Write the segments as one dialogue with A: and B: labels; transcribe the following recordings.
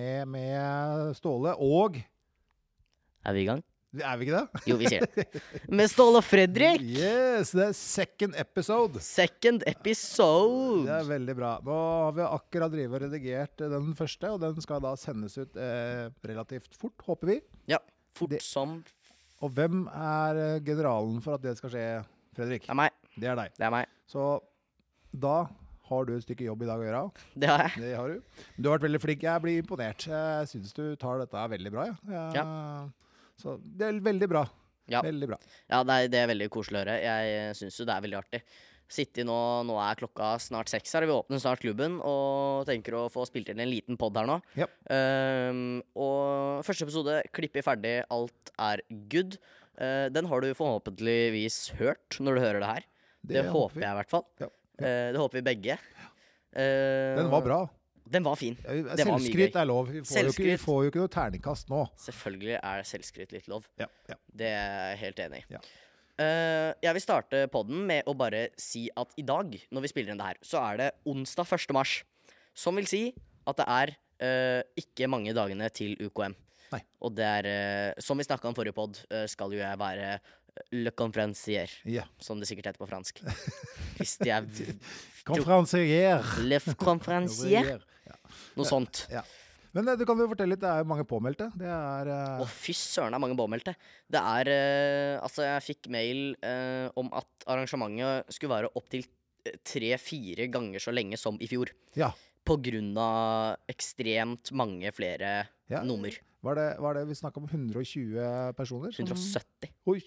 A: eh, Ståle og
B: Er vi i gang?
A: Er vi ikke det?
B: Jo, vi sier det. Med Ståle og Fredrik.
A: Yes, det er second episode.
B: Second
A: Det
B: episode.
A: er veldig bra. Nå har vi akkurat drivet og redigert den første, og den skal da sendes ut eh, relativt fort, håper vi.
B: Ja, fort
A: Det-
B: som
A: Og hvem er eh, generalen for at det skal skje, Fredrik?
B: Det er meg.
A: Det er deg.
B: Det er meg.
A: Så da har du et stykke jobb i dag å gjøre.
B: Det har jeg.
A: Det har du. Men du har vært veldig flink. Jeg blir imponert. Jeg syns du tar dette veldig bra. jeg. Jeg- Så det er veldig bra.
B: Ja.
A: Veldig bra.
B: Ja, det er, det er veldig koselig å høre. Jeg eh, syns jo det er veldig artig. Sitter nå, nå er klokka snart seks her, og vi åpner snart klubben. Og tenker å få spilt inn en liten pod her nå.
A: Ja.
B: Ehm, og første episode, klipper ferdig, alt er good. Eh, den har du forhåpentligvis hørt når du hører det her. Det, håper jeg i hvert fall.
A: Ja.
B: Eh, det håper vi begge. Eh,
A: Den var bra.
B: Den var fin. Det var mye
A: Selvskryt
B: gøy.
A: er lov. Vi får, jo ikke, vi
B: Selvskryt.
A: får jo ikke noe terningkast nå.
B: Selvfølgelig er selvskryt litt lov.
A: Ja, ja.
B: Det er jeg helt enig i.
A: Ja.
B: Eh, jeg vil starte podden med å bare si at i dag, når vi spiller inn det her, så er det onsdag 1. mars. Som vil si at det er eh, ikke mange dagene til UKM.
A: Nei.
B: Og det er, eh, som vi snakka om forrige pod, eh, skal jo jeg være le confrancier,
A: Ja.
B: som det sikkert heter på fransk. Hvis de er v-
A: Konferansier.
B: le confrancier,
A: Ja.
B: noe sånt.
A: Men eh, du kan jo fortelle litt. Det er jo mange påmeldte. Det er eh,
B: Å, fy søren, det er mange påmeldte. Det er eh, Altså, jeg fikk mail eh, om at arrangementet skulle vare opptil eh, tre-fire ganger så lenge som i fjor.
A: Ja.
B: På grunn av ekstremt mange flere
A: ja.
B: nummer.
A: Var det, var det vi snakka om 120 personer? som-
B: 170.
A: Oi,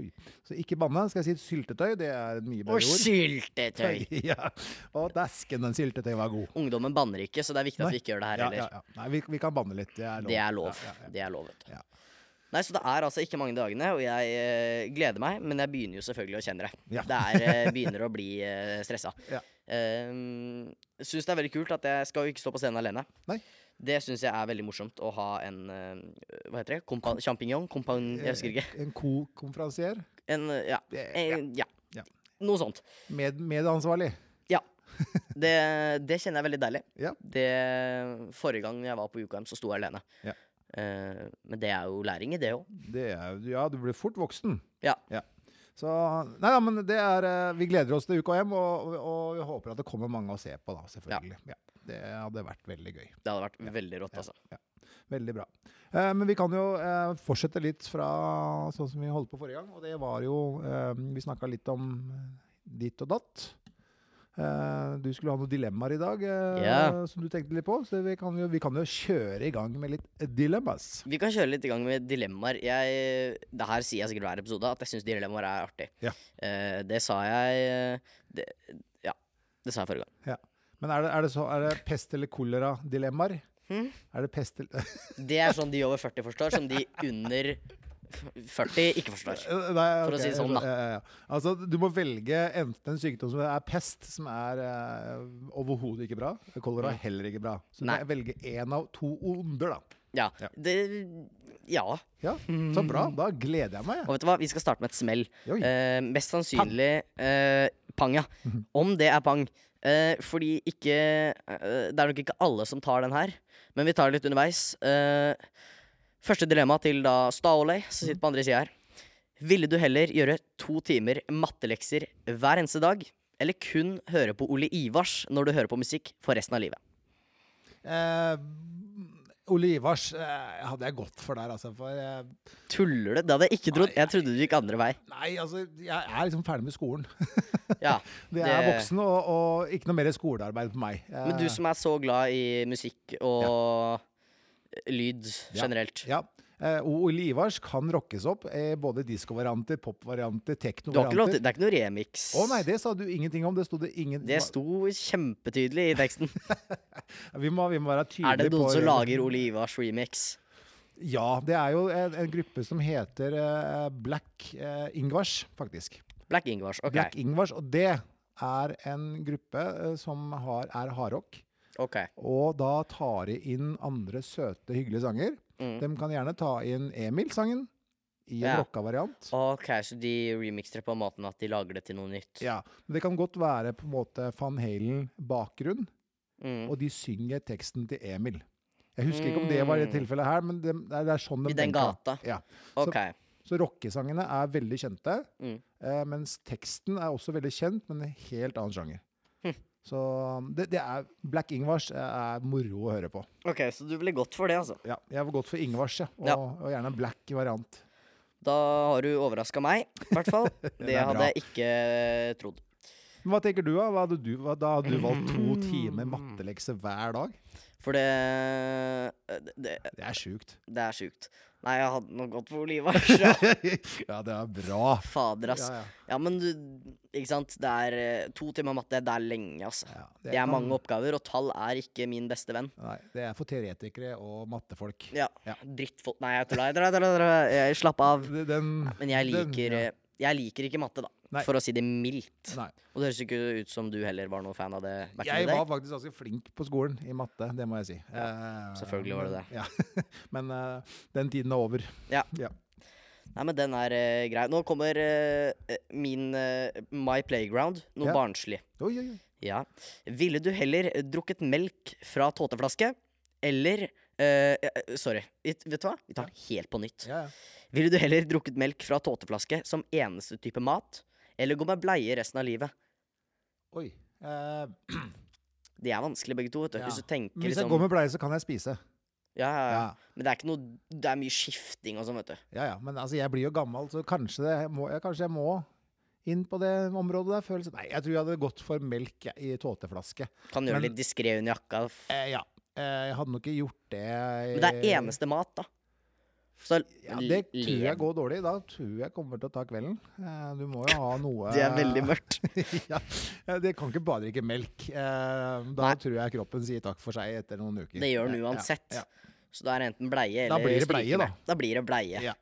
A: oi. Så ikke banne. Skal jeg si syltetøy? Det er et mye bedre
B: Og
A: ord.
B: syltetøy!
A: Ja. Og dæsken, den syltetøy var god.
B: Ungdommen banner ikke, så det er viktig at
A: Nei.
B: vi ikke gjør det her
A: Ja,
B: heller.
A: ja, ja. Nei, vi, vi kan banne litt. Det er lov.
B: Det er lov.
A: Ja, ja, ja.
B: Det er lov, vet du.
A: Ja.
B: Nei, Så det er altså ikke mange dagene, og jeg eh, gleder meg, men jeg begynner jo selvfølgelig å kjenne det.
A: Ja.
B: Det er, eh, begynner å bli uh, stressa.
A: Ja.
B: syns det er veldig kult at jeg skal jo ikke stå på scenen alene.
A: Nei.
B: Det syns jeg er veldig morsomt å ha en eh, Hva heter det? Kompa Champignon? Kompan... Jeg husker ikke.
A: En co-konferansier.
B: En, eh, ja.
A: Det-
B: En, ja.
A: Ja.
B: Noe sånt.
A: Med, medansvarlig.
B: Det, det kjenner jeg veldig deilig.
A: Ja.
B: Det, forrige gang jeg var på UKM, så sto jeg alene.
A: Ja.
B: Eh, men det er jo læring i det òg.
A: Det er, ja, du blir fort voksen.
B: Ja.
A: Så Nei da, men det er eh, Vi gleder oss til UKM, og, og, og vi håper at det kommer mange å se på, da, selvfølgelig. Ja. Det hadde vært veldig gøy.
B: Det hadde vært veldig rått, altså.
A: Veldig bra. Eh, men vi kan jo eh, fortsette litt fra sånn som vi holdt på forrige gang, og det var jo eh, Vi snakka litt om ditt og datt. Eh, du skulle ha noen dilemmaer i dag eh,
B: Ja.
A: som du tenkte litt på, så vi kan, jo, vi kan jo kjøre i gang med litt dilemmas.
B: Vi kan kjøre litt i gang med dilemmaer. Jeg, det her sier jeg sikkert hver episode, at jeg syns dilemmaer er artig.
A: Ja.
B: Eh, det sa jeg eh, det, Ja, det sa jeg forrige gang.
A: Men er det, er det, så, er det pest eller kolera-dilemmaer?
B: Hm?
A: Er det pest eller
B: Det er sånn de over 40 forstår, som de under 40 ikke forstår.
A: For
B: å si det sånn, da.
A: Altså, du må velge enten en sykdom som er pest, som er eh, overhodet ikke bra. Kolera er heller ikke bra. Så du
B: Nei.
A: kan velge én av to onder, da.
B: Ja.
A: Ja.
B: Det, ja. Og
A: Ja,
B: Hmm.
A: Så bra. Da gleder jeg meg. jeg.
B: vet du hva, vi skal starte med et smell.
A: Oi.
B: Eh, mest sannsynlig eh, pang, ja. Om det er pang. Eh, fordi ikke eh, Det er nok ikke alle som tar den her, men vi tar det litt underveis. Eh, første dilemma til da Staolei, som sitter på andre sida her. Ville du heller gjøre to timer mattelekser hver eneste dag, eller kun høre på Ole Ivars når du hører på musikk for resten av livet?
A: Eh, Ole Ivars eh, hadde jeg gått for der, altså. For eh,
B: Tuller du? Det hadde jeg ikke trodd. Jeg trodde du gikk andre vei.
A: nei, altså, jeg er liksom ferdig med skolen.
B: Ja.
A: Det er
B: Det-
A: voksen, og, og ikke noe mer skolearbeid på meg.
B: Men
A: Eh,
B: du som er så glad i musikk og lyd
A: Ja.
B: generelt.
A: Ja. Eh, og Ole Ivars kan rockes opp. Eh, både disco-varianter, pop-varianter,
B: Du har ikke lov til,
A: tekno-varianter.
B: det er ikke noe remix.
A: Å nei, det sa du ingenting om. Det sto det ingen
B: Det sto kjempetydelig i teksten.
A: Vi må, vi må være tydelige
B: Er det noen
A: på-
B: som lager Ole Ivars remix?
A: Ja, det er jo en, en gruppe som heter eh, Black eh, Ingvars, faktisk.
B: Black Ingvars. Ok.
A: Black Ingvars, og det er en gruppe eh, som har, er hardrock.
B: ok.
A: Og da tar de inn andre søte, hyggelige sanger.
B: Mm.
A: De kan gjerne ta inn Emil-sangen i en
B: Ja.
A: rocka variant.
B: Ok, Så de remixer det på den måten at de lager det til noe nytt?
A: Ja, men Det kan godt være på en måte Van Halen-bakgrunn,
B: Mm.
A: og de synger teksten til Emil. Jeg husker ikke om det var i det tilfellet her, men det, det er- det er sånn de
B: I den
A: tenker.
B: gata.
A: Ja.
B: Ok.
A: Så rockesangene er veldig kjente,
B: Mm.
A: eh, mens teksten er også veldig kjent, men en helt annen sjanger.
B: Hm.
A: Så um, det, det er Black Ingvars er moro å høre på.
B: ok, så du ville gått for det, altså.
A: Ja, jeg var godt for Ingvars, ja. Og,
B: Ja.
A: og gjerne en black variant.
B: Da har du overraska meg, i hvert fall. Det
A: er
B: hadde
A: bra.
B: jeg ikke trodd.
A: Men hva tenker du, da? Hva hadde du, hva, da hadde du valgt to timer mattelekse hver dag?
B: For det Det,
A: Det er sjukt.
B: det er sjukt. Nei, jeg hadde nok gått for Olivas. Ja.
A: ja, det er bra.
B: Fader, ass.
A: Ja, ja.
B: Ja, men du Ikke sant. Det er eh, to timer matte. Det er lenge, altså.
A: Ja,
B: Det er mange oppgaver, og tall er ikke min beste venn.
A: Nei, det er for teoretikere og mattefolk.
B: Ja.
A: Ja.
B: Drittfolk Nei, jeg tulla. Jeg tulla, jeg tulla, jeg tulla. Jeg- Slapp av.
A: Den, den-
B: Men jeg
A: den-
B: liker
A: ja.
B: eh, Jeg liker ikke matte, da.
A: Nei.
B: For å si det mildt.
A: Nei.
B: Og det høres jo ikke ut som du heller var noe fan av det. back in
A: Jeg
B: the day.
A: var faktisk ganske flink på skolen i matte, det må jeg si. Eh,
B: selvfølgelig var du det.
A: Ja. Men eh, den tiden er over.
B: Ja.
A: Ja.
B: Nei, men den er eh, grei. Nå kommer eh, eh, min eh, My Playground. Noe
A: Ja.
B: barnslig.
A: Oi, oi, oi.
B: Ja. Ville du heller drukket melk fra tåteflaske eller eh, eh, Sorry. Vi- Vet du hva? Vi tar den helt på nytt.
A: Ja, ja.
B: Ville du heller drukket melk fra tåteflaske som eneste type mat, eller gå med bleie resten av livet?
A: Oi. Eh,
B: De er vanskelig begge to, vet du.
A: Ja.
B: Hvis du tenker
A: men hvis jeg
B: liksom
A: går med bleie, så kan jeg spise.
B: ja, ja, ja.
A: Ja,
B: Men det er ikke noe Det er mye skifting og sånn, vet du.
A: ja. ja. Men altså, jeg blir jo gammel, så kanskje, det må, ja, kanskje jeg må inn på det området der. Følelse. Nei, jeg tror jeg hadde gått for melk jeg, i tåteflaske.
B: Kan gjøre
A: Men-
B: det litt diskré under jakka. f-
A: Eh, ja. Eh, jeg hadde nok ikke gjort det
B: Men det er eneste mat, da. Så
A: Ja, det
B: l-
A: tror
B: lev.
A: jeg går dårlig. Da tror jeg kommer til å ta kvelden. Eh, Du må jo ha noe
B: Det er veldig mørkt.
A: ja, det kan ikke bare drikke melk. Eh, Da
B: Nei.
A: tror jeg kroppen sier takk for seg etter noen uker.
B: Det gjør den
A: Ja, ja,
B: uansett.
A: ja.
B: Så det er enten bleie
A: Da
B: eller
A: blir det
B: stryke
A: bleie,
B: med.
A: da.
B: Da blir det bleie.
A: Ja.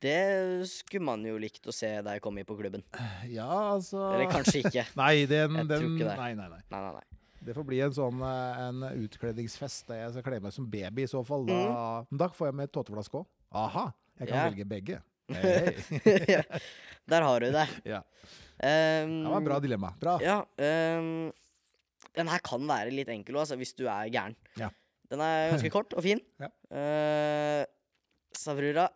B: Det skulle man jo likt å se deg komme i på klubben.
A: Ja, altså
B: Eller kanskje ikke.
A: Nei, den,
B: Jeg tror
A: den
B: ikke det.
A: Nei, nei, nei.
B: Nei, nei, nei.
A: Det får bli en sånn eh, en utkledningsfest der jeg skal kle meg som baby i så fall. Da, Men da får jeg med tåteflaske òg. Aha! Jeg kan
B: Mm. Ja.
A: velge begge. Hey, hey.
B: Der har du det.
A: Ja.
B: Um,
A: Det var et bra dilemma. Bra.
B: Ja, ehm, den her kan være litt enkel også, altså, hvis du er gæren.
A: Ja.
B: Den er ganske kort og fin.
A: Ja.
B: Eh, Savrura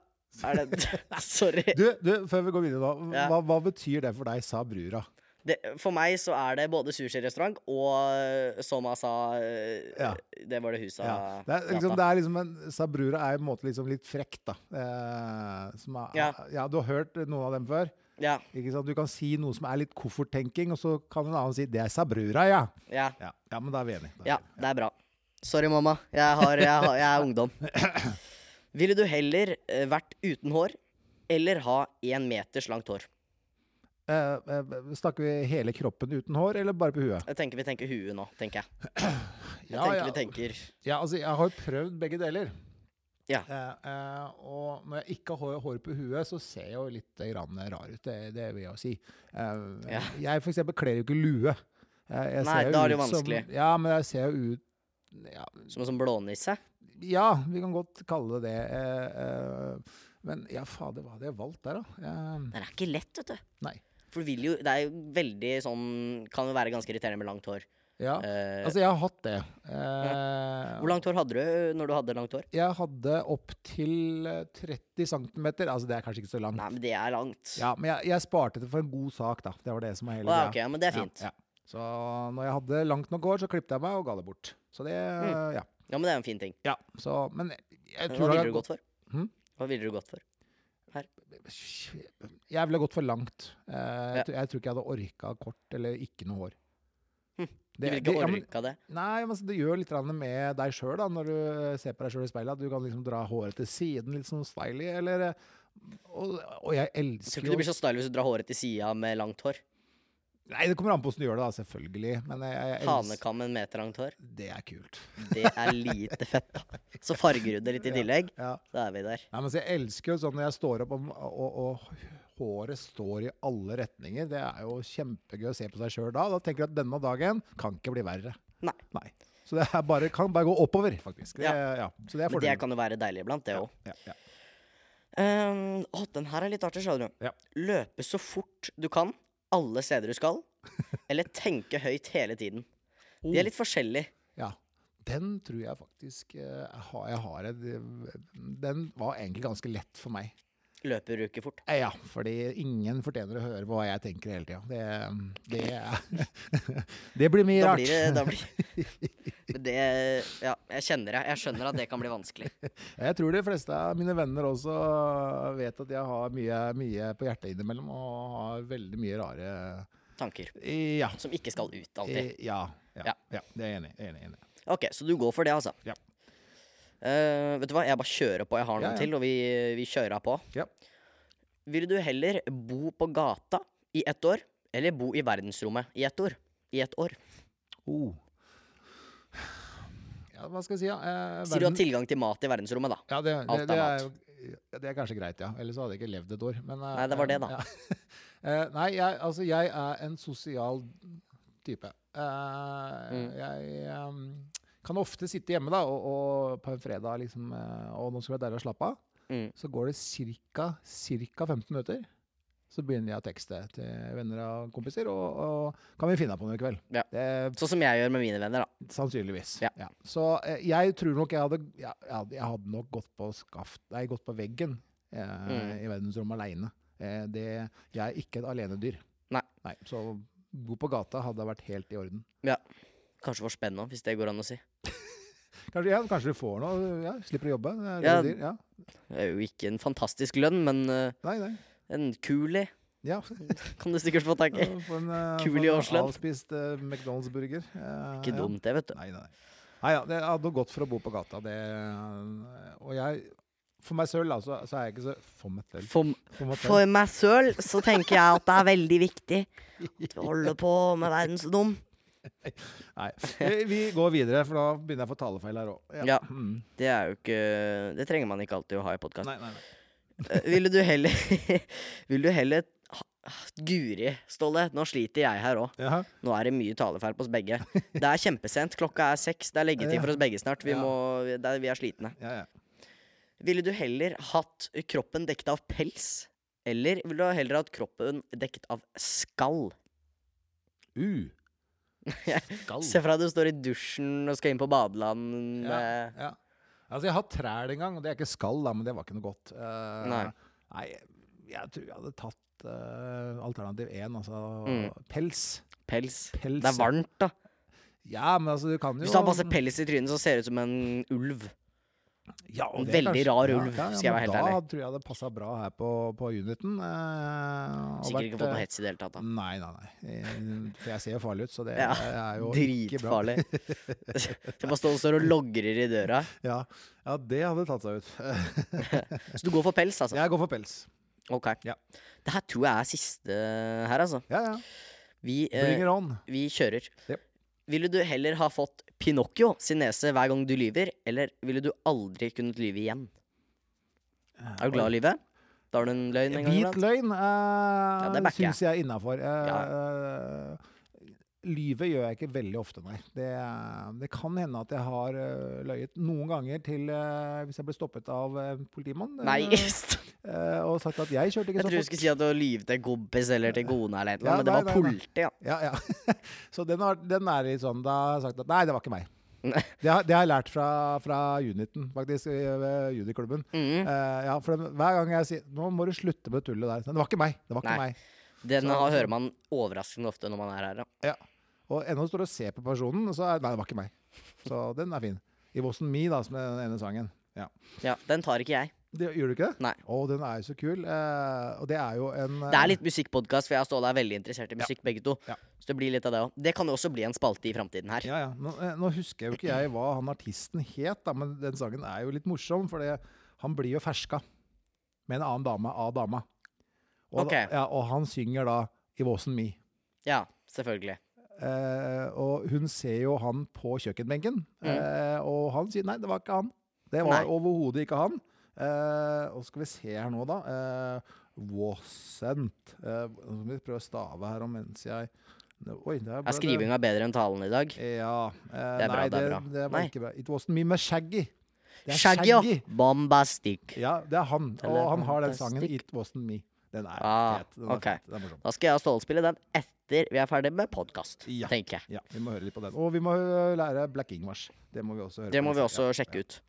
B: er det Sorry.
A: Du, du, før vi går videre, da.
B: Ja.
A: Hva, hva betyr det for deg, sa brura?
B: Det, for meg så er det både sushirestaurant og, eh, som jeg sa eh,
A: Ja.
B: Det var det huset
A: Ja. Det, er, liksom, det er liksom en Sabrura er på en måte liksom litt frekt, da. Eh, som er, ja.
B: Ja.
A: du har hørt noen av dem før.
B: Ja,
A: Ikke sant? Du kan si noe som er litt kofferttenking, og så kan en annen si 'det er Sabrura', ja.
B: ja,
A: Ja, ja men da er vi enige. Da er
B: ja,
A: vi enige.
B: det er bra. Sorry, mamma. Jeg, har, jeg, har, jeg er ungdom. Ville du heller eh, vært uten hår eller ha én meters langt hår?
A: Eh, eh, snakker vi hele kroppen uten hår, eller bare på huet?
B: Jeg tenker Vi tenker huet nå, tenker jeg. Jeg
A: Ja,
B: tenker
A: ja.
B: vi tenker
A: Ja, altså, jeg har jo prøvd begge deler.
B: Ja.
A: Eh, eh, og når jeg ikke har hår på huet, så ser jeg jo litt eh, grann rar ut. Det, det vil jeg jo si. Eh,
B: Ja.
A: Jeg for eksempel kler jo ikke lue. Eh, jeg
B: Nei,
A: ser jo
B: da er det
A: ut
B: jo
A: som-
B: vanskelig.
A: Ja, men jeg ser jo ut ja,
B: Som en sånn blånisse?
A: ja, vi kan godt kalle det det. Eh, eh, men ja, fader, hva hadde jeg valgt der, da? Eh,
B: Det er ikke lett, vet du.
A: Nei.
B: For du vil jo, det er jo veldig sånn Kan jo være ganske irriterende med langt hår.
A: ja.
B: Eh,
A: Altså, jeg har hatt det. Eh,
B: hvor langt hår hadde du når du hadde langt hår?
A: Jeg hadde opptil 30 cm. Altså, det er kanskje ikke så langt.
B: Nei, men det er langt.
A: Ja, men jeg, jeg sparte det for en god sak, da. Det var det som var hele
B: Å, ja,
A: greia.
B: ok, ja, men det er fint.
A: Ja,
B: Ja,
A: ja. Så når jeg hadde langt nok hår, så klippet jeg meg og ga det bort. Så det, ja.
B: men det er en fin ting.
A: ja. Så, men jeg
B: Men
A: tror
B: Hva
A: det hadde
B: ville Mm. du gått for?
A: Hm?
B: Hva ville du gått for?
A: gått- Jeg ville gått for langt. Eh,
B: Ja.
A: jeg, tror, jeg tror ikke jeg hadde orka kort eller ikke noe hår.
B: Hm. Du
A: Det-
B: ville
A: det-
B: ikke
A: ja, men-
B: orka det?
A: Nei, men altså, det gjør litt grann med deg sjøl når du eh, ser på deg sjøl i speilet. At du kan liksom dra håret til siden, litt sånn stylig, eller eh, Og, og jeg
B: Tror
A: elsker
B: ikke du blir så stylish hvis du drar håret til sida med langt hår.
A: Nei, det kommer an på åssen du gjør det, da, selvfølgelig. Men jeg, jeg, elsker
B: Hanekam med en meter langt hår.
A: Det er kult.
B: Det er lite fett, da. Så farger du det litt i tillegg.
A: Ja.
B: Da er vi der.
A: Nei, men så Jeg elsker jo sånn når jeg står opp om- og, og, og håret står i alle retninger. Det er jo kjempegøy å se på seg sjøl da. Da tenker jeg at denne dagen kan ikke bli verre.
B: Nei.
A: Så det er bare, kan bare gå oppover, faktisk. Det, ja. Så det er
B: Men det
A: fordelen.
B: kan jo være deilig iblant, det òg.
A: Ja, ja.
B: Um, å, den her er litt artig, skjønner du.
A: Ja.
B: Løpe så fort du kan, alle
A: Oh.
B: steder du skal, eller tenke høyt hele tiden. De er litt forskjellige.
A: Ja. Den tror jeg faktisk eh, jeg har, jeg har et, Den var egentlig ganske lett for meg.
B: Løper ikke fort.
A: Eh, Ja, fordi ingen fortjener å høre hva jeg tenker hele tida. Det, det, det blir mye
B: Da
A: rart.
B: blir det, da blir Men det Ja, jeg kjenner det. Jeg skjønner at det kan bli vanskelig.
A: Jeg tror de fleste av mine venner også vet at jeg har mye, mye på hjertet innimellom, og har veldig mye rare
B: Tanker
A: Ja.
B: som ikke skal ut alltid.
A: eh, Ja. Ja.
B: Ja.
A: ja. Det er jeg enig, enig, enig.
B: Ok, så du går for det, altså.
A: Ja.
B: Eh, vet du hva, jeg bare kjører på. Jeg har noe
A: Ja, ja.
B: til, og vi, vi kjører på.
A: Ja.
B: Vil du heller bo på gata i ett år, eller bo i verdensrommet i ett år? I ett år.
A: Oh. Ja, hva skal jeg si, da? Eh,
B: Sier du har
A: verden-
B: tilgang til mat i verdensrommet, da.
A: Ja, det, det,
B: Alt
A: det,
B: er
A: er, jo- ja, det er kanskje greit, ja. Ellers så hadde jeg ikke levd et år. Men, eh,
B: Nei, det var det, da.
A: ja. Eh, Nei, jeg, altså, jeg er en sosial type. Eh,
B: Mm.
A: Jeg eh, kan ofte sitte hjemme da, og, og på en fredag liksom, eh, og nå skal jeg der og slappe av.
B: Mm.
A: Så går det cirka, cirka 15 minutter. Så begynner jeg å tekste til venner og kompiser, og, og kan vi finne på noe i kveld.
B: Ja.
A: Det,
B: Sånn som jeg gjør med mine venner, da.
A: Sannsynligvis.
B: Ja.
A: Så eh, jeg tror nok jeg hadde, ja, jeg hadde, jeg hadde nok gått på, skaft, nei, gått på veggen eh,
B: Mm.
A: i verdensrommet aleine. Eh, det, jeg er ikke et alenedyr.
B: Nei.
A: nei. Så bo på gata hadde vært helt i orden.
B: Kanskje for spenn nå, hvis det går an å si.
A: Kanskje, ja, kanskje du får noe, ja, slipper å jobbe. det er
B: Ja.
A: rådyr, ja.
B: Det er jo ikke en fantastisk lønn, men eh,
A: Nei, nei.
B: en kuli
A: Ja.
B: kan du sikkert få tak i.
A: Få en, eh,
B: Kul
A: få en
B: i årslønn.
A: Avspist eh, McDonald's-burger. Eh,
B: Ikke
A: ja.
B: dumt, det, vet du.
A: Nei, nei. nei ja, det hadde gått for å bo på gata. Det, eh, og jeg, for meg selv, altså, så er jeg ikke så For meg selv.
B: For,
A: For meg selv.
B: for meg sjøl så tenker jeg at det er veldig viktig at vi holder på med verdensdom.
A: Nei. Vi- Vi går videre, for da begynner jeg å få talefeil her òg.
B: Ja.
A: Mm.
B: Det er jo ikke Det trenger man ikke alltid å ha i podkast.
A: Nei, nei, nei.
B: Ville du heller Vil du heller ha- ah, Guri, Ståle, nå sliter jeg her òg.
A: Jaha.
B: Nå er det mye talefeil på oss begge. Det er kjempesent. Klokka er seks. Det er leggetid for oss begge snart. Vi,
A: Ja.
B: må, vi- det er, vi er slitne.
A: Ja, ja.
B: Ville du heller hatt kroppen dekket av pels, eller ville du heller hatt kroppen dekket av skall?
A: U.
B: Se
A: Skall.
B: for deg du står i dusjen og skal inn på badeland.
A: Ja,
B: eh,
A: ja. Altså, jeg har hatt trær en gang, og det er ikke skall, da, men det var ikke noe godt. Eh,
B: Nei.
A: nei, jeg tror jeg hadde tatt eh, alternativ én, altså
B: Mm.
A: pels.
B: Pels.
A: Pels.
B: Det er varmt, da.
A: Ja, men altså, du kan jo
B: Hvis du har masse pels i trynet, så ser det ut som en ulv.
A: Ja, og
B: En
A: det er
B: veldig
A: kanskje-
B: rar ulv, skal jeg
A: men
B: være helt
A: da
B: ærlig.
A: Da tror jeg det passa bra her på, på uniten. eh, og
B: Sikkert
A: vært,
B: ikke fått
A: eh,
B: noe hets i det hele tatt, da.
A: Nei, nei, nei. Eh, For jeg ser jo farlig ut, så det
B: Ja,
A: er jo ikke bra.
B: Dritfarlig. Så bare står og står og logrer i døra.
A: Ja, ja, det hadde tatt seg ut.
B: Altså. Så du går for pels, altså?
A: Jeg går for pels.
B: Ok.
A: Ja.
B: Det her tror jeg er siste her, altså.
A: Ja, ja.
B: Vi, eh,
A: Bring it on.
B: vi kjører.
A: Jep.
B: Ville du heller ha fått Pinocchio sin nese hver gang du lyver, eller ville du aldri kunnet lyve igjen? Er du glad i å lyve? Da har du en løgn en gang
A: Hvit
B: iblant.
A: løgn
B: det
A: uh,
B: backer jeg.
A: syns jeg er innafor. eh, Lyvet gjør jeg ikke veldig ofte, nei. Det, eh, det kan hende at jeg har eh, løyet noen ganger til eh, Hvis jeg ble stoppet av eh, en politimann eh,
B: Nei, jeg
A: eh, og sagt at jeg kjørte ikke
B: tror
A: så
B: du
A: fort.
B: skulle si at du lyver til en kompis eller til kona eller et eller
A: Ja,
B: annet, men det
A: nei,
B: var
A: nei, nei.
B: politi, ja.
A: Ja, ja. Så den, har, den er litt sånn Da har jeg sagt at nei, det var ikke meg.
B: Nei.
A: Det har, det har jeg lært fra, fra uniten, faktisk, i eh, juniklubben.
B: Mhm.
A: Eh, ja, for den, hver gang jeg sier Nå må du slutte med tullet der. Det var ikke meg. Det sånn. var ikke
B: Nei.
A: meg.
B: Den
A: Så-
B: har- hører man overraskende ofte når man er her. Ja.
A: Ja. Og ennå står du og ser på personen, og så er Nei, det var ikke meg. Så den er fin. I Wasn't Me, da, som er den ene sangen. Ja.
B: ja, Den tar ikke jeg.
A: Det, gjør du ikke det?
B: Nei.
A: Å, den er jo så kul. Eh, og det er jo en eh,
B: Det er litt musikkpodkast, for jeg og Ståle er veldig interessert i musikk, begge to.
A: Ja.
B: Så det blir litt av det òg. Det kan jo også bli en spalte i framtiden her.
A: Ja, ja. Nå, eh, nå husker jeg jo ikke jeg hva han artisten het, da, men den sangen er jo litt morsom, for han blir jo ferska med en annen dame av dama. Og,
B: Ok.
A: ja, og han synger da i Wasn't Me.
B: Ja, selvfølgelig.
A: Eh, og hun ser jo han på kjøkkenbenken, eh, og han sier nei, det var ikke han. Det
B: Mm. Nei.
A: var overhodet ikke han. Eh, og skal vi se her nå, da. Eh, wasn't. Eh, nå må vi prøve å stave her om mens jeg Oi, der ble
B: Er skrivinga bedre enn talen i dag?
A: ja. eh,
B: Det er bra,
A: nei,
B: det er bra.
A: Det, var
B: Nei.
A: ikke bra. It wasn't me med Shaggy. Det er
B: Shaggy, ja. Bombastic.
A: Ja, det er han. Og han har den sangen
B: Fantastic.
A: It wasn't me. Den er
B: Ah,
A: fet. Den er,
B: ok.
A: fet. Den er morsom.
B: Da skal jeg og Ståle spille den etter vi er ferdig med podkast,
A: Ja.
B: tenker jeg.
A: Ja, vi må høre litt på den. Og vi må øh, lære Black Ingvars. Det må vi også høre
B: Det
A: på
B: må vi
A: neste.
B: også sjekke ut.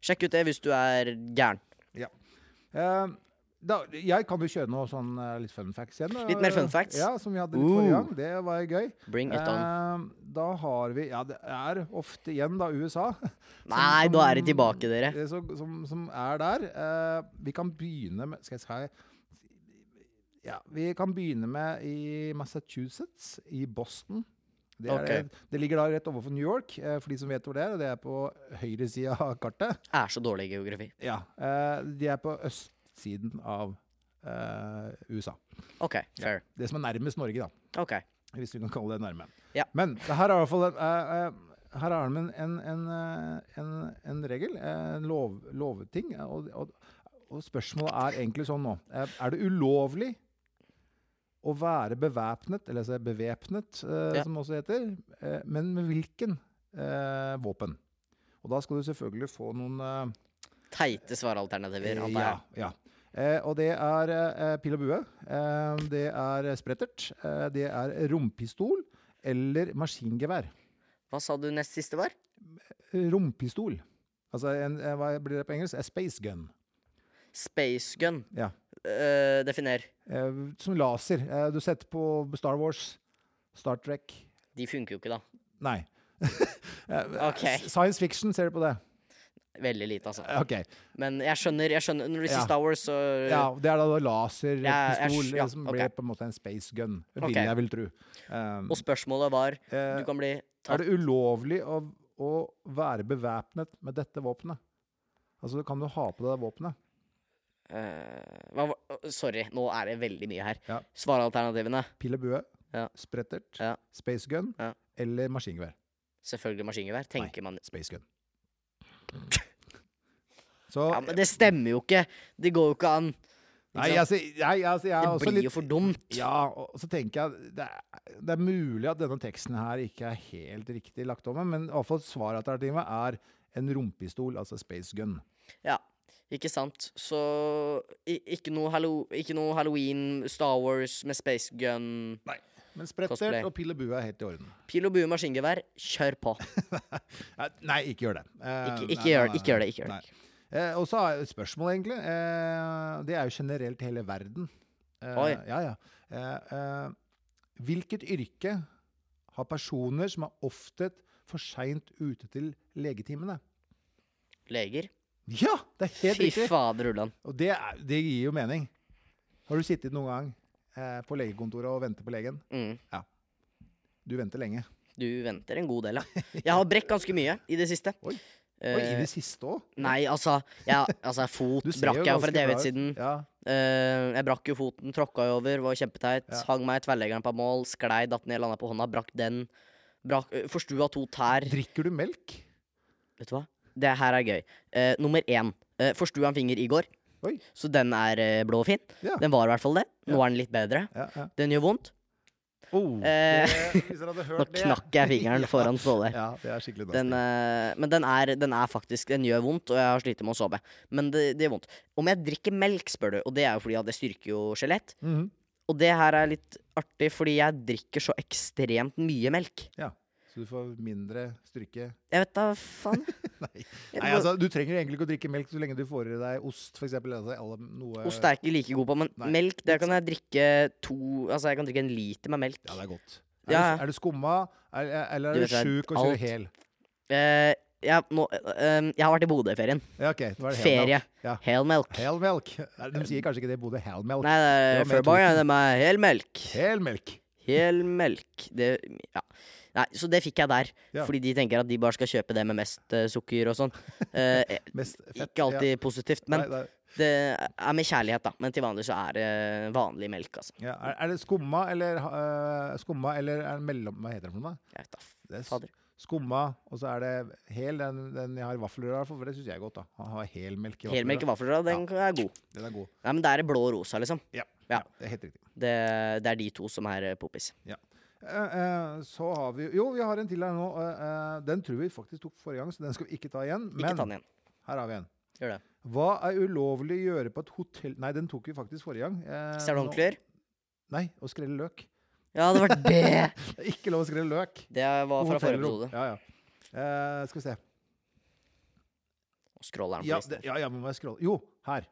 B: Sjekk ut det hvis du er gæren.
A: Eh, da, jeg kan jo kjøre noe sånn eh, litt fun facts igjen. da.
B: Litt mer fun facts? Uh.
A: Ja, som vi hadde litt forrige
B: Ooh.
A: gang. Det var gøy.
B: Bring it on.
A: Eh, da har vi Ja, det er ofte igjen da USA. som-
B: Nei,
A: som-
B: nå er det tilbake, dere.
A: eh, Som, som, som er der. Eh, vi kan begynne med Skal jeg si Ja, vi kan begynne med i Massachusetts, i Boston. Det, er,
B: Ok.
A: det, det ligger da rett overfor New York, eh, for de som vet hvor det er. og Det er på høyresida av kartet.
B: Er så dårlig i geografi.
A: Ja, eh, de er på østsiden av eh, USA.
B: OK, fair.
A: Det som er nærmest Norge, da.
B: OK.
A: Hvis vi kan kalle det nærme.
B: Ja.
A: Men det her er i hvert fall en, eh, eh, her er det en, en, en, eh, en, en regel, eh, en lov, lovting. eh, Og, og, og spørsmålet er egentlig sånn nå. eh, Er det ulovlig å være bevæpnet, eller altså bevæpnet, eh,
B: Ja.
A: som det også heter, eh, men med hvilken eh, våpen? Og da skal du selvfølgelig få noen eh,
B: Teite svaralternativer, antar
A: ja,
B: jeg.
A: ja. Eh, og det er eh, pil og bue, eh, det er sprettert, eh, det er rompistol eller maskingevær.
B: Hva sa du nest siste var?
A: Rompistol. Altså, en, eh, hva blir det på engelsk? A space gun.
B: Space gun.
A: Ja.
B: Eh, definer.
A: Eh, som laser. Eh, du setter på Star Wars, Star Trek
B: De funker jo ikke, da.
A: Nei. Eh,
B: Ok.
A: Science fiction, ser du på det?
B: Veldig lite, altså.
A: Ok.
B: Men jeg skjønner, jeg skjønner når du sier
A: Ja.
B: Star Wars, så
A: Ja, det er da da laserpistol,
B: Ja, jeg skj- ja,
A: som
B: ok.
A: blir på en måte en space gun. Vil
B: Ok.
A: jeg vel tro. Eh,
B: Og spørsmålet var
A: eh,
B: Du kan bli
A: Er det ulovlig å, å være bevæpnet med dette våpenet? Altså, kan du ha på deg våpenet?
B: eh, hva, var- Sorry, nå er det veldig mye her.
A: Ja.
B: Svaralternativene.
A: Pil og bue,
B: Ja.
A: sprettert,
B: Ja.
A: space gun
B: Ja.
A: eller maskingevær?
B: Selvfølgelig maskingevær. Tenker man
A: Space gun. Så
B: Ja, Men det stemmer jo ikke! Det går jo ikke an.
A: Nei, altså, jeg, altså, jeg er
B: Det
A: også
B: blir
A: litt
B: jo for dumt.
A: Ja, og så tenker jeg det er, det er mulig at denne teksten her ikke er helt riktig lagt om, men iallfall svaralternativet er en rumpistol, altså space gun.
B: Ja, ikke sant. Så i- ikke noe, hallo, ikke noe Halloween, Star Wars med space gun.
A: Men sprettert
B: Cosplay.
A: og pil og bue er helt i orden.
B: Pil og bue maskingevær, kjør på.
A: Eh, Nei, ikke gjør det. Eh,
B: Ikke-
A: nei, nei,
B: ikke gjør det, ikke gjør det,
A: nei,
B: ikke gjør det.
A: nei. Eh, og så er spørsmålet, egentlig. Eh, det er jo generelt hele verden. Eh,
B: Oi.
A: Ja, ja. Eh, eh, hvilket yrke har personer som er ofte for seint ute til legetimene?
B: Leger.
A: Ja, det er helt
B: Fy
A: riktig!
B: fader ulland.
A: Og det, er, det gir jo mening. Har du sittet noen gang eh, på legekontoret og ventet på legen?
B: Mm.
A: Du venter lenge.
B: Du venter en god del, ja. Jeg har brekk ganske mye i det siste.
A: Oi.
B: Eh,
A: Oi, I det siste òg?
B: nei, altså, jeg, altså Fot brakk jeg jo for en evighet siden.
A: Ja.
B: Eh, jeg brakk jo foten, tråkka jo over, var kjempeteit.
A: Ja.
B: Hang meg i tverrleggeren på mål, sklei, datt ned, landa på hånda, brakk den. Brakk, eh, forstua to tær.
A: Drikker du melk?
B: Vet du hva? Det her er gøy. Eh, nummer én. Uh, Forstua en finger i går,
A: Oi.
B: så den er eh, blå og fin.
A: Ja.
B: Den var i hvert fall det. Nå er den litt bedre.
A: Ja, ja.
B: Den gjør vondt.
A: Oh,
B: Eh,
A: det, hvis dere hadde
B: Nå
A: hørt det
B: knakk jeg fingeren
A: Ja.
B: foran Ståle.
A: Ja, det er skikkelig
B: Den, eh, men den er, den er faktisk Den gjør vondt, og jeg har slitt med å sove. Men det, det gjør vondt. Om jeg drikker melk, spør du, og det er jo fordi at det styrker jo skjelett.
A: Mhm.
B: Og det her er litt artig, fordi jeg drikker så ekstremt mye melk.
A: Ja. Så du får mindre styrke.
B: Jeg vet da faen.
A: Nei.
B: Jeg
A: Nei,
B: må-
A: altså, du trenger egentlig ikke å drikke melk så lenge du får i deg ost, for eksempel. Altså, alle, noe,
B: Ost er jeg ikke like god på, men
A: Nei.
B: melk, der kan jeg drikke to Altså, jeg kan drikke en liter med melk.
A: Ja, det er godt. Er,
B: Ja,
A: du,
B: ja.
A: er du skumma, er, er- eller er du
B: Du vet, det er
A: sjuk og
B: alt.
A: kjører hel?
B: Eh, ja, nå, eh, eh, jeg har vært i Bodø i ferien.
A: Ja, ok. Nå er det hel
B: Ferie.
A: melk. Ja.
B: Hel melk.
A: Hel melk. Nei, De sier kanskje ikke det i Bodø. Hel melk.
B: Nei, det
A: Det
B: er
A: var mer
B: Furboy, det er meg. Hel melk.
A: Hel melk.
B: Hel melk. Det, ja. Nei, så det fikk jeg der.
A: Ja.
B: Fordi de tenker at de bare skal kjøpe det med mest eh, sukker og sånn. Eh, eh,
A: Mest fett.
B: ikke alltid positivt, men
A: Nei, nei.
B: det er med kjærlighet, da. Men til vanlig så er det vanlig melk, altså.
A: Ja, er, er det skumma eller eh, Skumma eller er det mellom... Hva heter det for noe?
B: Jeg vet da. f-
A: Det er s-
B: Fader.
A: Skumma, og så er det hel. Den, den jeg har i vaffelrøra, i hvert fall, for det syns jeg er godt. da. Han har helmelk i vaffelrøra.
B: Helmelk i vaffelrøra, den er god.
A: Den er god.
B: Nei, men det er blå og rosa, liksom.
A: Ja,
B: Ja.
A: ja, det er helt riktig.
B: Det, det er de to som er eh, poppis.
A: Eh, eh, så har vi Jo, vi har en til her nå. eh, eh, den tror vi faktisk tok forrige gang, så den skal vi ikke ta igjen.
B: Ikke ta den igjen.
A: her har vi en.
B: Gjør det.
A: Hva er ulovlig å gjøre på et hotell Nei, den tok vi faktisk forrige gang. Eh,
B: Stjele
A: nå-
B: håndklær?
A: Nei, å skrelle løk.
B: Ja, det var det!
A: Det er ikke lov å skrelle løk.
B: Det var
A: på
B: fra forrige
A: hotellrom.
B: episode.
A: Ja, ja. Eh, skal vi se.
B: Scrolleren på
A: Ja,
B: listen.
A: det, ja, ja, men må jeg scrolle Jo, her.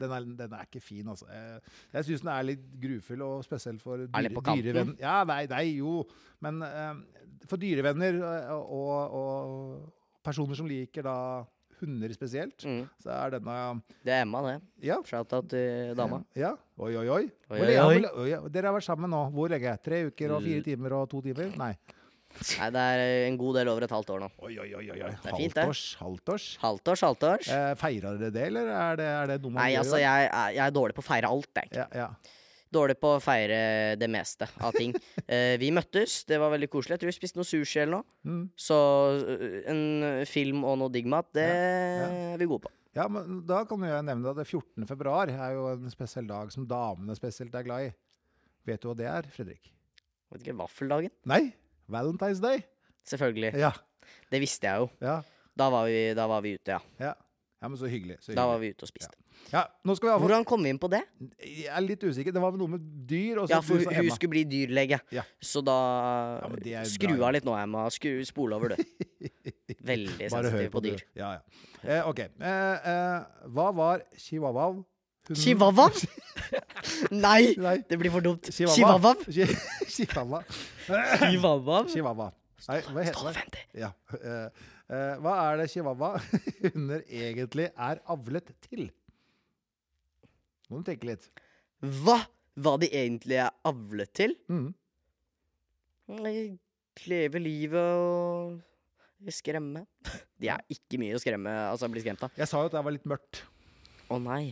A: Den er, den er ikke fin, altså. Eh, Jeg syns den er litt grufull, og spesielt for dyre,
B: litt på kanten?
A: dyrevenn- Ja, nei, nei, jo. Men eh, for dyrevenner eh, og, og personer som liker da hunder spesielt,
B: Mm.
A: så er denne
B: Det er Emma, det.
A: Ja.
B: Shout-out til dama.
A: Ja. Oi, oi, oi.
B: Oi,
A: Hvor
B: oi,
A: lenge-
B: oi.
A: hvor le- oi, ja. Dere har vært sammen nå hvor lenge? Tre uker og fire
B: L-
A: timer og to timer? Nei.
B: Nei, det er eh, en god del over et halvt år nå.
A: Oi, oi, oi. oi, oi.
B: Det er fint, det.
A: Halvtårs. Halvtårs.
B: Halvtårs, halvtårs.
A: Eh, feirer dere det, eller er det, er det noe man
B: Nei,
A: gjør?
B: altså, jeg, er- jeg er dårlig på å feire alt, jeg.
A: ja, ja.
B: Dårlig på å feire det meste av ting. Eh, vi møttes, det var veldig koselig. Jeg tror vi spiste noe sushi eller noe.
A: Mm.
B: Så eh, en film og noe digg mat, det er vi gode på.
A: Ja, men da kan jo jeg nevne at det 14. februar er jo en spesiell dag som damene spesielt er glad i. Vet du hva det er, Fredrik?
B: Vet ikke, Vaffeldagen?
A: Nei, Valentine's Day.
B: Selvfølgelig.
A: Ja,
B: Det visste jeg jo.
A: ja,
B: Da var vi, da var vi ute, ja.
A: ja. Ja, men så hyggelig. Så
B: Da var
A: hyggelig.
B: vi ute og spiste.
A: Ja, nå skal vi avføre.
B: Hvordan kom vi inn på det?
A: Jeg er litt usikker. Det var vel noe med dyr, og så
B: Ja, for
A: du
B: hun,
A: sa
B: hun
A: Emma.
B: skulle bli dyrlege.
A: Ja.
B: Så da
A: Ja, men det er jo
B: Skru
A: bra.
B: av litt nå, Emma. Skru, spole over, du. Veldig
A: Bare hør
B: sensitiv på
A: du.
B: dyr.
A: Ja, ja. Eh, ok. Eh, eh, hva var chihuahua? Hunden-
B: Chihuahua? Nei!
A: Nei.
B: Det blir for dumt.
A: Chihuahua.
B: Chihuahua?
A: Chi- Chihuahua.
B: Chihuahua?
A: Chihuahua. Nei, hva heter det?
B: Stålvendig.
A: Ja. eh, eh, hva er det chihuahua-hunder egentlig er avlet til? Må du tenke litt.
B: Hva var de egentlig er avlet til?
A: Mm.
B: Nei, Leve livet og skremme. De er ikke mye å skremme, altså bli skremt av.
A: Jeg sa jo at det var litt mørkt.
B: Å nei.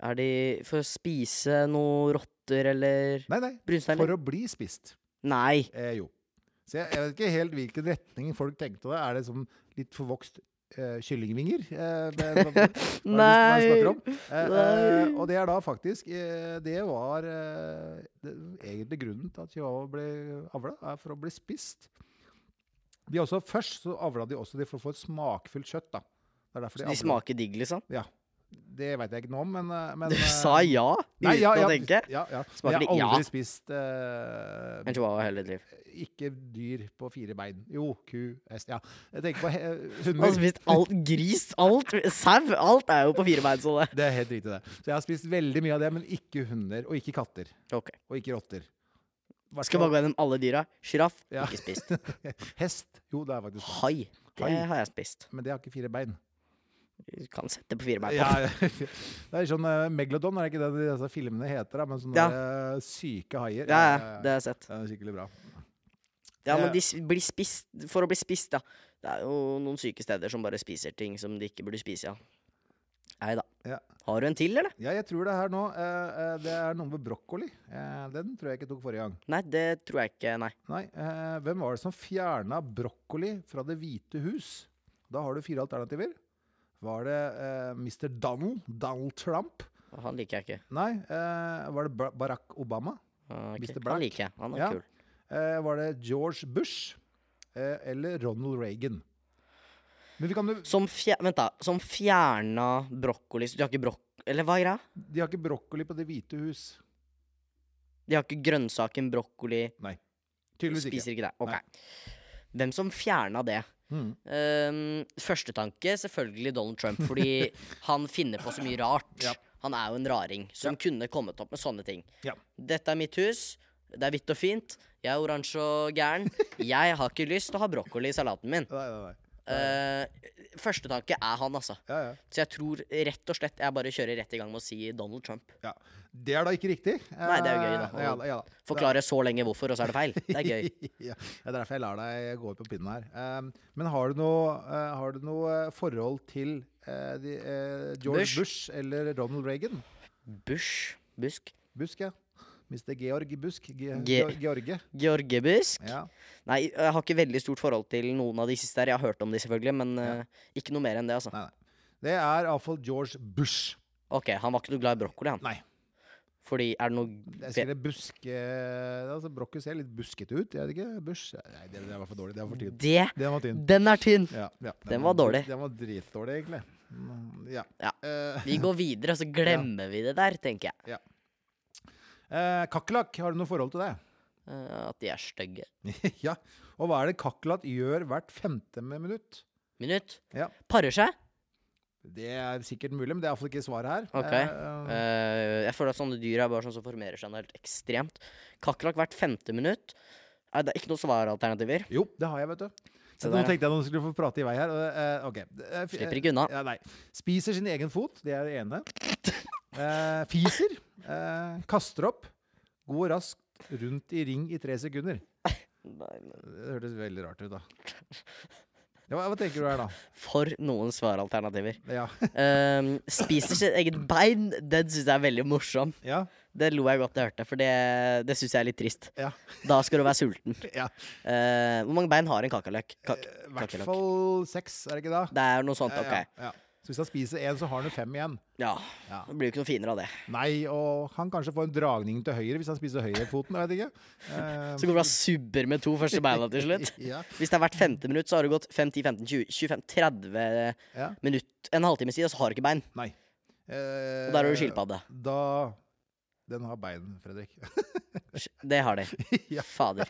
B: Er de for å spise noe rotter eller
A: Nei, nei.
B: brunsteiner?
A: For å bli spist.
B: Nei.
A: Eh, jo. Så jeg, jeg vet ikke helt hvilken retning folk tenkte det. Er det som litt forvokst eh, kyllingvinger? Eh, hva- hva- hva er det som man
B: Nei.
A: snakker om? Eh, eh,
B: Nei.
A: og det er da faktisk eh, Det var eh, det, egentlig grunnen til at chihuahua ble avla, er for å bli spist. De er også, først så avla de også de for å få et smakfullt kjøtt. da. Det er derfor
B: Så
A: de
B: de
A: avla-
B: smaker digg, liksom?
A: Ja. Det veit jeg ikke noe om, men, eh, men
B: Du
A: eh,
B: sa ja uten
A: nei, ja, ja,
B: å tenke?
A: Ja, ja. Men
B: Smaker
A: Jeg
B: det-
A: har
B: ja.
A: aldri spist eh,
B: En chihuahua hele ditt liv.
A: ikke dyr på fire bein. Jo, ku, hest Ja. Jeg tenker på he-
B: Han har
A: hunder.
B: spist Altså, alt. Gris, alt. Sau. Alt er jo på fire bein, så det.
A: Det er helt riktig, det. Så jeg har spist veldig mye av det, men ikke hunder. Og ikke katter.
B: Ok.
A: Og ikke rotter. Hvertfall-
B: Skal bare gå gjennom alle dyra. Sjiraff.
A: Ja.
B: Ikke spist.
A: Hest. Jo, det er faktisk det.
B: Hai. Det
A: Hai.
B: har jeg spist.
A: Men det har ikke fire bein.
B: Du kan sette på fire bein. på.
A: Ja, det er sånn eh, megalodon, er det ikke det de- disse filmene heter? Da? Men sånne
B: Ja.
A: der, eh, syke haier.
B: Ja, ja, det har jeg sett.
A: det er skikkelig bra.
B: Ja, men
A: Ja.
B: de s- blir spist for å bli spist, da. Det er jo noen syke steder som bare spiser ting som de ikke burde spise, ja. Nei da.
A: Ja.
B: Har du en til, eller?
A: Ja, jeg tror det er her nå. eh, eh, Det er noe med brokkoli. Eh, Den tror jeg ikke tok forrige gang.
B: Nei, det tror jeg ikke. Nei.
A: Nei, eh, hvem var det som fjerna brokkoli fra Det hvite hus? Da har du fire alternativer. Var det eh, Mr. Donald? Donald Trump?
B: Han liker jeg ikke.
A: Nei, eh, var det Ba- Barack Obama?
B: Ah, ok.
A: Mr. Black.
B: Han liker jeg. Han er
A: Ja.
B: kul.
A: Eh, var det George Bush? Eh, eller Ronald Reagan? Men vi kan jo
B: Som, fjer vent da, som fjerna brokkoli Så de har ikke brok... Eller hva er greia?
A: De har ikke brokkoli på Det hvite hus.
B: De har ikke grønnsaken brokkoli.
A: Tydeligvis ikke.
B: Spiser ikke det. Ok.
A: Nei.
B: Hvem som fjerna det?
A: Mm.
B: Um, første tanke, selvfølgelig Donald Trump, fordi han finner på så mye rart.
A: Ja.
B: Han er jo en raring som kunne kommet opp med sånne ting.
A: Ja.
B: Dette er mitt hus. Det er hvitt og fint. Jeg er oransje og gæren. Jeg har ikke lyst til å ha brokkoli i salaten min.
A: Nei, nei, nei.
B: Uh, første tanke er han, altså.
A: Ja, ja.
B: Så jeg tror rett og slett jeg bare kjører rett i gang med å si Donald Trump.
A: ja. Det er da ikke riktig.
B: Nei, det er jo gøy, da.
A: Eh, Ja, da, ja, da.
B: Forklare så lenge hvorfor, og så er det feil. Det er gøy.
A: ja, det er derfor jeg lar deg gå ut på pinnen her. Um, men har du noe, eh, har du noe eh, forhold til eh, de, eh, George
B: Bush?
A: Bush. eller Ronald Reagan?
B: Bush. Busk.
A: Busk, ja. Mr. Georg Busk. Ge
B: Ge-
A: Ge- George.
B: George Busk.
A: Ja.
B: Nei, jeg har ikke veldig stort forhold til noen av de siste her. Jeg har hørt om de selvfølgelig, men eh, ikke noe mer enn det, altså.
A: Nei, nei. Det er iallfall George Bush.
B: Ok, han var ikke noe glad i brokkoli, han.
A: Nei,
B: Fordi er det noe
A: jeg skrev buske... Altså, Brokket ser litt buskete ut, gjør det ikke? Bush? Nei, det, det var for dårlig. Det var for tynt.
B: Det
A: Det var tynt.
B: Den er tynn!
A: Ja, ja,
B: Den var dårlig.
A: Den var dritdårlig, egentlig. Mm, Ja.
B: Ja.
A: Eh,
B: Vi går videre, og så glemmer vi det der, tenker jeg.
A: eh, kakerlakk, har du noe forhold til det?
B: Eh, at de er stygge.
A: ja. Og hva er det kakerlakk gjør hvert femte minutt?
B: Minutt.
A: Ja.
B: Parer seg.
A: Det er sikkert mulig, men det er iallfall ikke svaret her.
B: Ok.
A: Eh, eh,
B: Eh, jeg føler at sånne dyr er bare sånn som formerer seg noe helt ekstremt. Kakerlakk hvert femte minutt. Nei, det er ikke noen svaralternativer.
A: jo, det har jeg, vet du. Så nå
B: Det Eh. der, ja.
A: tenkte jeg noen skulle få prate i vei her. og, eh, ok. Eh, f-
B: Slipper ikke unna.
A: Ja, nei. Spiser sin egen fot, det er det ene. Eh, fiser. Eh, kaster opp. Går raskt rundt i ring i tre sekunder.
B: Nei, men
A: Det hørtes veldig rart ut, da. Ja, hva, hva tenker du her, da?
B: For noen svaralternativer.
A: Ja.
B: Eh, spiser sitt eget bein. Den syns jeg er veldig morsom.
A: ja.
B: Det lo jeg godt jeg hørte, for det, det syns jeg er litt trist.
A: Ja.
B: Da skal du være sulten.
A: ja.
B: Eh, hvor mange bein har en kakerlakk? Kak
A: Eh, I hvert
B: kakerlakk.
A: fall seks, er det ikke da?
B: Det er noe sånt,
A: Ja,
B: ok.
A: ja. Så hvis han spiser én, så har han jo fem igjen.
B: Ja.
A: Ja.
B: Det blir jo ikke noe finere av det.
A: Nei, og han kanskje får en dragning til høyre hvis han spiser høyrefoten. Jeg vet ikke. Eh,
B: Så går det bra subber med to første beina til slutt.
A: ja,
B: Hvis det er hvert femte minutt, så har det gått 5, 10, 15, 20, 25, 30
A: ja.
B: minutt, en halvtime siden, og så har du ikke bein.
A: Nei.
B: Og der har du skilpadde.
A: eh, Da Den har bein, Fredrik.
B: Det har de.
A: Ja.
B: Fader.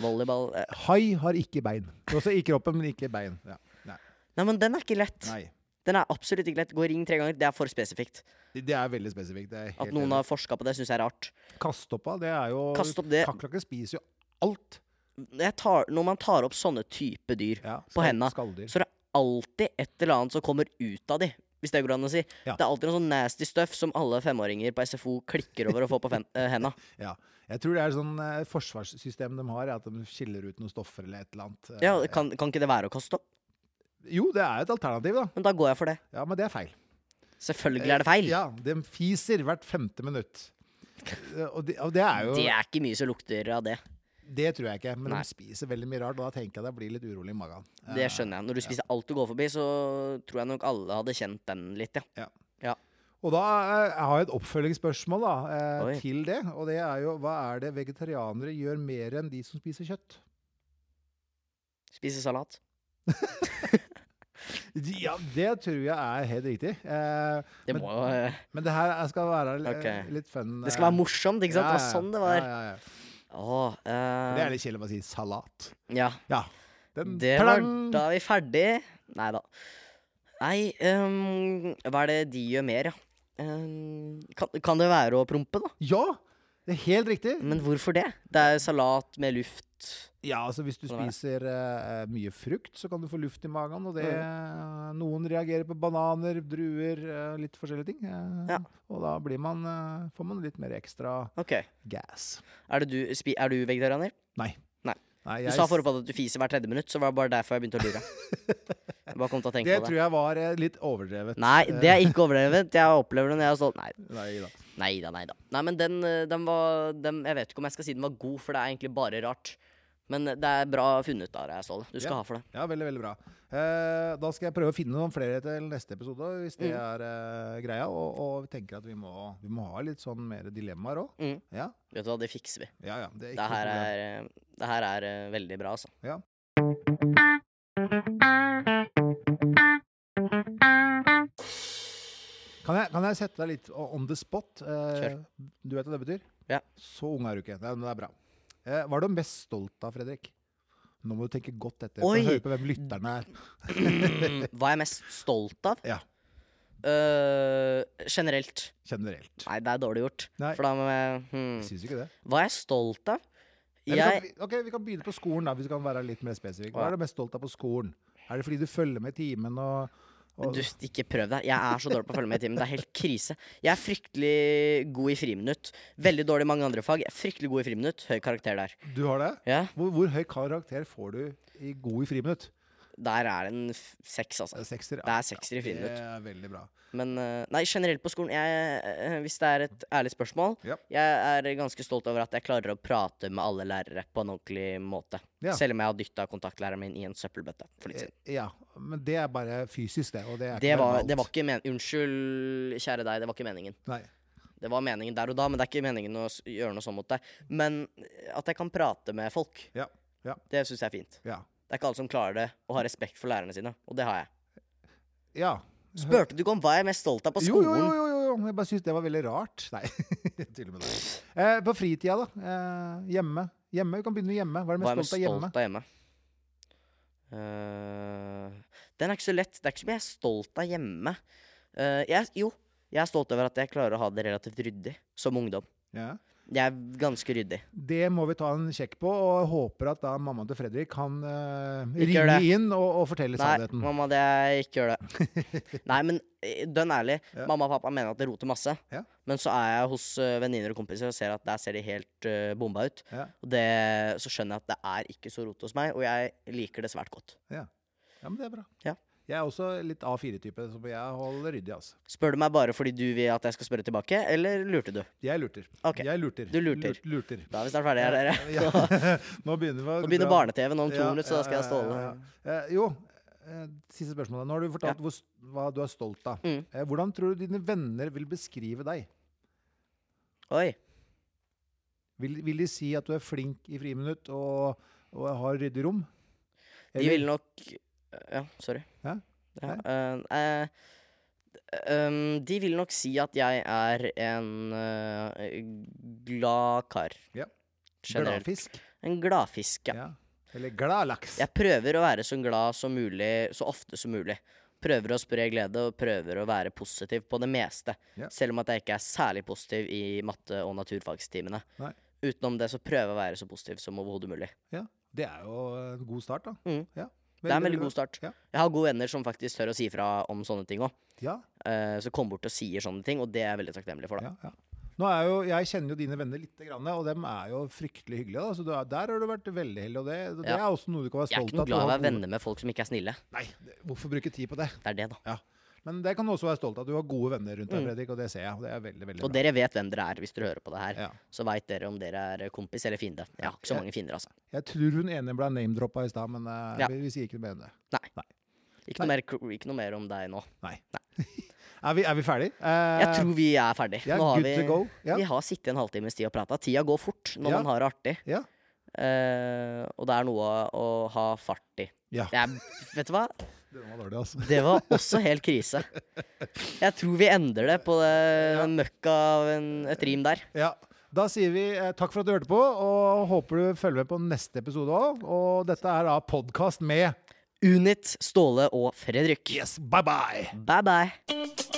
B: Volleyball eh.
A: Hai har ikke bein. Også i kroppen, men ikke bein. Ja. Nei.
B: Nei, men den er ikke lett.
A: Nei.
B: Den er absolutt ikke lett. Gå i ring tre ganger, det er for spesifikt.
A: Det- Det er veldig spesifikt. Det er helt
B: At noen har forska på det, syns jeg er rart.
A: enig. Kastoppa, det er jo
B: Kast opp det.
A: Kakerlakker spiser jo alt.
B: Jeg tar, når man tar opp sånne type dyr,
A: Ja,
B: På
A: skal-
B: henda.
A: Skalldyr.
B: så er det alltid et eller annet som kommer ut av de. Hvis det går an å si.
A: Ja.
B: Det er alltid noe sånn nasty stuff som alle femåringer på SFO klikker over og får på fen eh, henda.
A: Ja. Jeg tror det er sånn eh, forsvarssystem de har, at de skiller ut noen stoffer eller et eller annet. Eh,
B: Ja, kan, kan ikke det være å kaste opp?
A: Jo, det er et alternativ, da.
B: Men da går jeg for det.
A: Ja, Men det er feil.
B: Selvfølgelig er det feil.
A: Ja, de fiser hvert femte minutt. Eh, Og det, og det er jo
B: Det er ikke mye som lukter av det.
A: Det tror jeg ikke, men
B: Nei.
A: de spiser veldig mye rart. Og da tenker jeg det blir litt urolig i magen. Eh,
B: Det skjønner jeg. Når du spiser alt du går forbi, så tror jeg nok alle hadde kjent den litt, ja.
A: Og da eh, jeg har jeg et oppfølgingsspørsmål da, eh,
B: Oi.
A: til det. Og det er jo hva er det vegetarianere gjør mer enn de som spiser kjøtt?
B: Spise salat.
A: Ja, det tror jeg er helt riktig. Eh,
B: Det
A: Men-
B: må jo eh,
A: men det her er- skal være eh,
B: Ok.
A: litt fun.
B: Det skal være
A: eh,
B: morsomt, ikke sant? Det
A: ja,
B: var
A: ja,
B: sånn det var.
A: Ja, ja, ja.
B: Åh, eh,
A: Det er litt kjedelig å bare si salat.
B: Ja.
A: Ja. Den
B: Det var
A: plang!
B: da vi ferdig. Nei da. Nei, ehm, hva er det de gjør mer, ja? Ehm, kan, kan det være å prompe, da?
A: Ja! Det er helt riktig.
B: Men hvorfor det? Det er salat med luft.
A: Ja, altså hvis du
B: Sånn er det.
A: spiser eh, mye frukt, så kan du få luft i magen. Og det
B: Mm.
A: eh, Noen reagerer på bananer, druer, eh, litt forskjellige ting. eh,
B: Ja.
A: Og da blir man, eh, får man litt mer ekstra
B: Ok.
A: gas.
B: Er, det du, spi, er du vegetarianer?
A: Nei.
B: Nei.
A: Nei,
B: Du
A: jeg-
B: sa forrige på at du fiser hvert tredje minutt, så var det bare derfor jeg begynte å lure. Jeg bare kom til å tenke
A: det
B: på
A: tror
B: det.
A: jeg var eh, litt overdrevet.
B: Nei, det er ikke overdrevet. Jeg opplever det når jeg har stått Nei
A: Nei da.
B: Nei da, nei da. Nei, men den, eh, den var den, Jeg vet ikke om jeg skal si den var god, for det er egentlig bare rart. Men det er bra funnet av deg, Ståle. Du skal
A: Ja.
B: ha for det.
A: Ja, veldig, veldig bra. Eh, da skal jeg prøve å finne noen flere til neste episode, hvis
B: Mm.
A: det er eh, greia. Og, og vi tenker at vi må, vi må ha litt sånn mer dilemmaer òg.
B: Mm.
A: Ja,
B: Vet du hva, det fikser vi.
A: ja, ja. Det er ikke
B: Det her
A: noe problem.
B: er, eh, det her er eh, veldig bra, altså.
A: Ja. Kan jeg, kan jeg sette deg litt o- on the spot? Eh,
B: Kjør.
A: Du vet hva det betyr?
B: Ja.
A: Så ung er du ikke. Det er, det er bra. Eh, hva er du mest stolt av, Fredrik? Nå må du tenke godt etter.
B: Oi!
A: Og høre på hvem lytterne er.
B: Hva er jeg mest stolt av?
A: Ja.
B: Øh, generelt.
A: Generelt.
B: Nei, det er dårlig gjort.
A: Nei.
B: For da må jeg hmm.
A: Jeg syns ikke det.
B: Hva er jeg stolt av?
A: Eller
B: Jeg
A: Kan, vi- ok, Vi kan begynne på skolen, da, hvis vi kan være litt mer spesifikke. Hva
B: Ja.
A: er du mest stolt av på skolen? Er det fordi du følger med i timen og, og
B: Du, ikke prøv deg. Jeg er så dårlig på å følge med i timen. Det er helt krise. Jeg er fryktelig god i friminutt. Veldig dårlig i mange andre fag. Jeg er fryktelig god i friminutt. Høy karakter der.
A: Du har det?
B: Ja,
A: Hvor, hvor høy karakter får du i god i friminutt? Eh,
B: der er det en f- seks, altså.
A: Sekser.
B: Det er sekser i
A: Det
B: friminutt.
A: er veldig bra.
B: Men eh, nei, generelt på skolen jeg, eh, Hvis det er et ærlig spørsmål
A: Ja.
B: Jeg er ganske stolt over at jeg klarer å prate med alle lærere på en ordentlig måte.
A: Ja.
B: Selv om jeg har dytta kontaktlæreren min i en søppelbøtte. For litt siden.
A: Eh, Ja, men det er bare fysisk, det. Og det er
B: Det
A: ikke
B: var,
A: verbalt.
B: det var ikke men Unnskyld, kjære deg, det var ikke meningen.
A: Nei.
B: Det var meningen der og da, men det er ikke meningen å s- gjøre noe sånn mot deg. Men at jeg kan prate med folk,
A: Ja, ja.
B: det syns jeg er fint.
A: Ja.
B: Det er ikke alle som klarer det, å ha respekt for lærerne sine, og det har jeg.
A: ja.
B: Spurte du ikke om hva jeg er mest stolt av på
A: Jo, jo, jo,
B: skolen?
A: jo, jo, jo. Jeg bare syns det var veldig rart. Nei, til og med det. Eh, på fritida, da. Eh, hjemme. Hjemme, Vi kan begynne hjemme. Hva er du
B: Hva
A: mest
B: er jeg mest
A: stolt av hjemme?
B: stolt av hjemme? Eh, den er ikke så lett. Det er ikke så mye jeg er stolt av hjemme. Eh, jeg, jo, jeg er stolt over at jeg klarer å ha det relativt ryddig som ungdom.
A: Ja.
B: Jeg er ganske ryddig.
A: Det må vi ta en sjekk på, og håper at da mammaen til Fredrik kan eh,
B: Ikke gjør
A: ringe
B: det.
A: inn og, og fortelle
B: Nei,
A: sannheten.
B: mamma, det er ikke gjør det. Nei, men eh, dønn ærlig.
A: Ja.
B: Mamma og pappa mener at det roter masse.
A: Ja.
B: Men så er jeg hos eh, venninner og kompiser og ser at der ser de helt eh, bomba ut.
A: Ja.
B: Og det, så skjønner jeg at det er ikke så rot hos meg, og jeg liker det svært godt.
A: Ja, men det er bra.
B: Ja.
A: Jeg er også litt A4-type, så jeg holder ryddig, altså.
B: Spør du meg bare fordi du vil at jeg skal spørre tilbake, eller lurte du?
A: Jeg lurter.
B: Ok,
A: Jeg lurter.
B: du lurter.
A: Lurt- lurter.
B: Da er vi snart ferdige her, dere.
A: Ja. Nå begynner vi å
B: Nå begynner
A: dra-
B: barne-TV nå om to
A: Ja,
B: minutter, så da skal jeg
A: ja,
B: ståle.
A: ja, ja. Eh, jo, eh, siste spørsmål. Nå har du fortalt
B: Ja.
A: hvor, s- hva du er stolt av.
B: Mm.
A: Eh, hvordan tror du dine venner vil beskrive deg?
B: Oi.
A: Vil, vil de si at du er flink i friminutt og, og har ryddig rom?
B: De ville nok Ja, sorry.
A: Hæ?
B: Ja, eh, eh, ehm, de vil nok si at jeg er en eh, glad kar.
A: Ja.
B: Generelt.
A: Gladfisk?
B: En gladfisk, ja.
A: Ja. Eller gladlaks?
B: Jeg prøver å være så glad som mulig så ofte som mulig. Prøver å spre glede og prøver å være positiv på det meste.
A: Ja.
B: Selv om at jeg ikke er særlig positiv i matte- og naturfagstimene.
A: Nei.
B: Utenom det så prøver jeg å være så positiv som overhodet mulig.
A: Det er jo en god start, da.
B: Mm.
A: Ja.
B: det er en veldig god start.
A: Ja.
B: Jeg har gode venner som faktisk tør å si fra om sånne ting òg.
A: Ja,
B: Eh, Så kom bort og sier sånne ting, og det er jeg veldig takknemlig for. da.
A: ja, ja. Nå er jo, jeg kjenner jo dine venner litt, grann, og dem er jo fryktelig hyggelige. Da. Så du er, der har du vært veldig heldig, og det, det
B: Ja.
A: er også noe du kan være
B: Jeg er
A: stolt
B: ikke noe
A: at du
B: glad i å
A: har
B: være
A: gode-
B: venner med folk som ikke er snille.
A: Nei, det- hvorfor bruke tid på det?
B: Det er det, da.
A: Men det kan du også være stolt av. Du har gode venner rundt deg,
B: Mm.
A: Fredrik, og det ser jeg. og Det er veldig, veldig
B: Og dere vet hvem dere er, hvis dere hører på det her.
A: bra. Ja.
B: Så veit dere om dere er kompis eller fiende. Jeg har ikke så
A: Ja.
B: mange fiender, altså.
A: Jeg tror hun ene ble name-droppa i stad, men eh,
B: Ja.
A: vi, vi sier ikke mer enn det.
B: Ikke noe, mer, ikke noe mer om deg nå.
A: Er vi, er vi ferdig? Eh,
B: Jeg tror vi er ferdig.
A: ja,
B: Nå har
A: good
B: vi,
A: to go. Ja.
B: vi har sittet en halvtimes tid og prata. Tida går fort når
A: Ja.
B: man har det artig.
A: Ja.
B: Eh, og det er noe å ha fart i.
A: Ja.
B: Jeg, vet du hva?
A: Den var dårlig, altså.
B: Det var også helt krise. Jeg tror vi endrer det på det,
A: Ja.
B: den møkka av en, et rim der.
A: Ja. Da sier vi eh, takk for at du hørte på, og håper du følger med på neste episode òg. Og dette er da podkast med
B: Unit, Ståle og Fredrik.
A: Yes, bye bye!
B: Bye bye.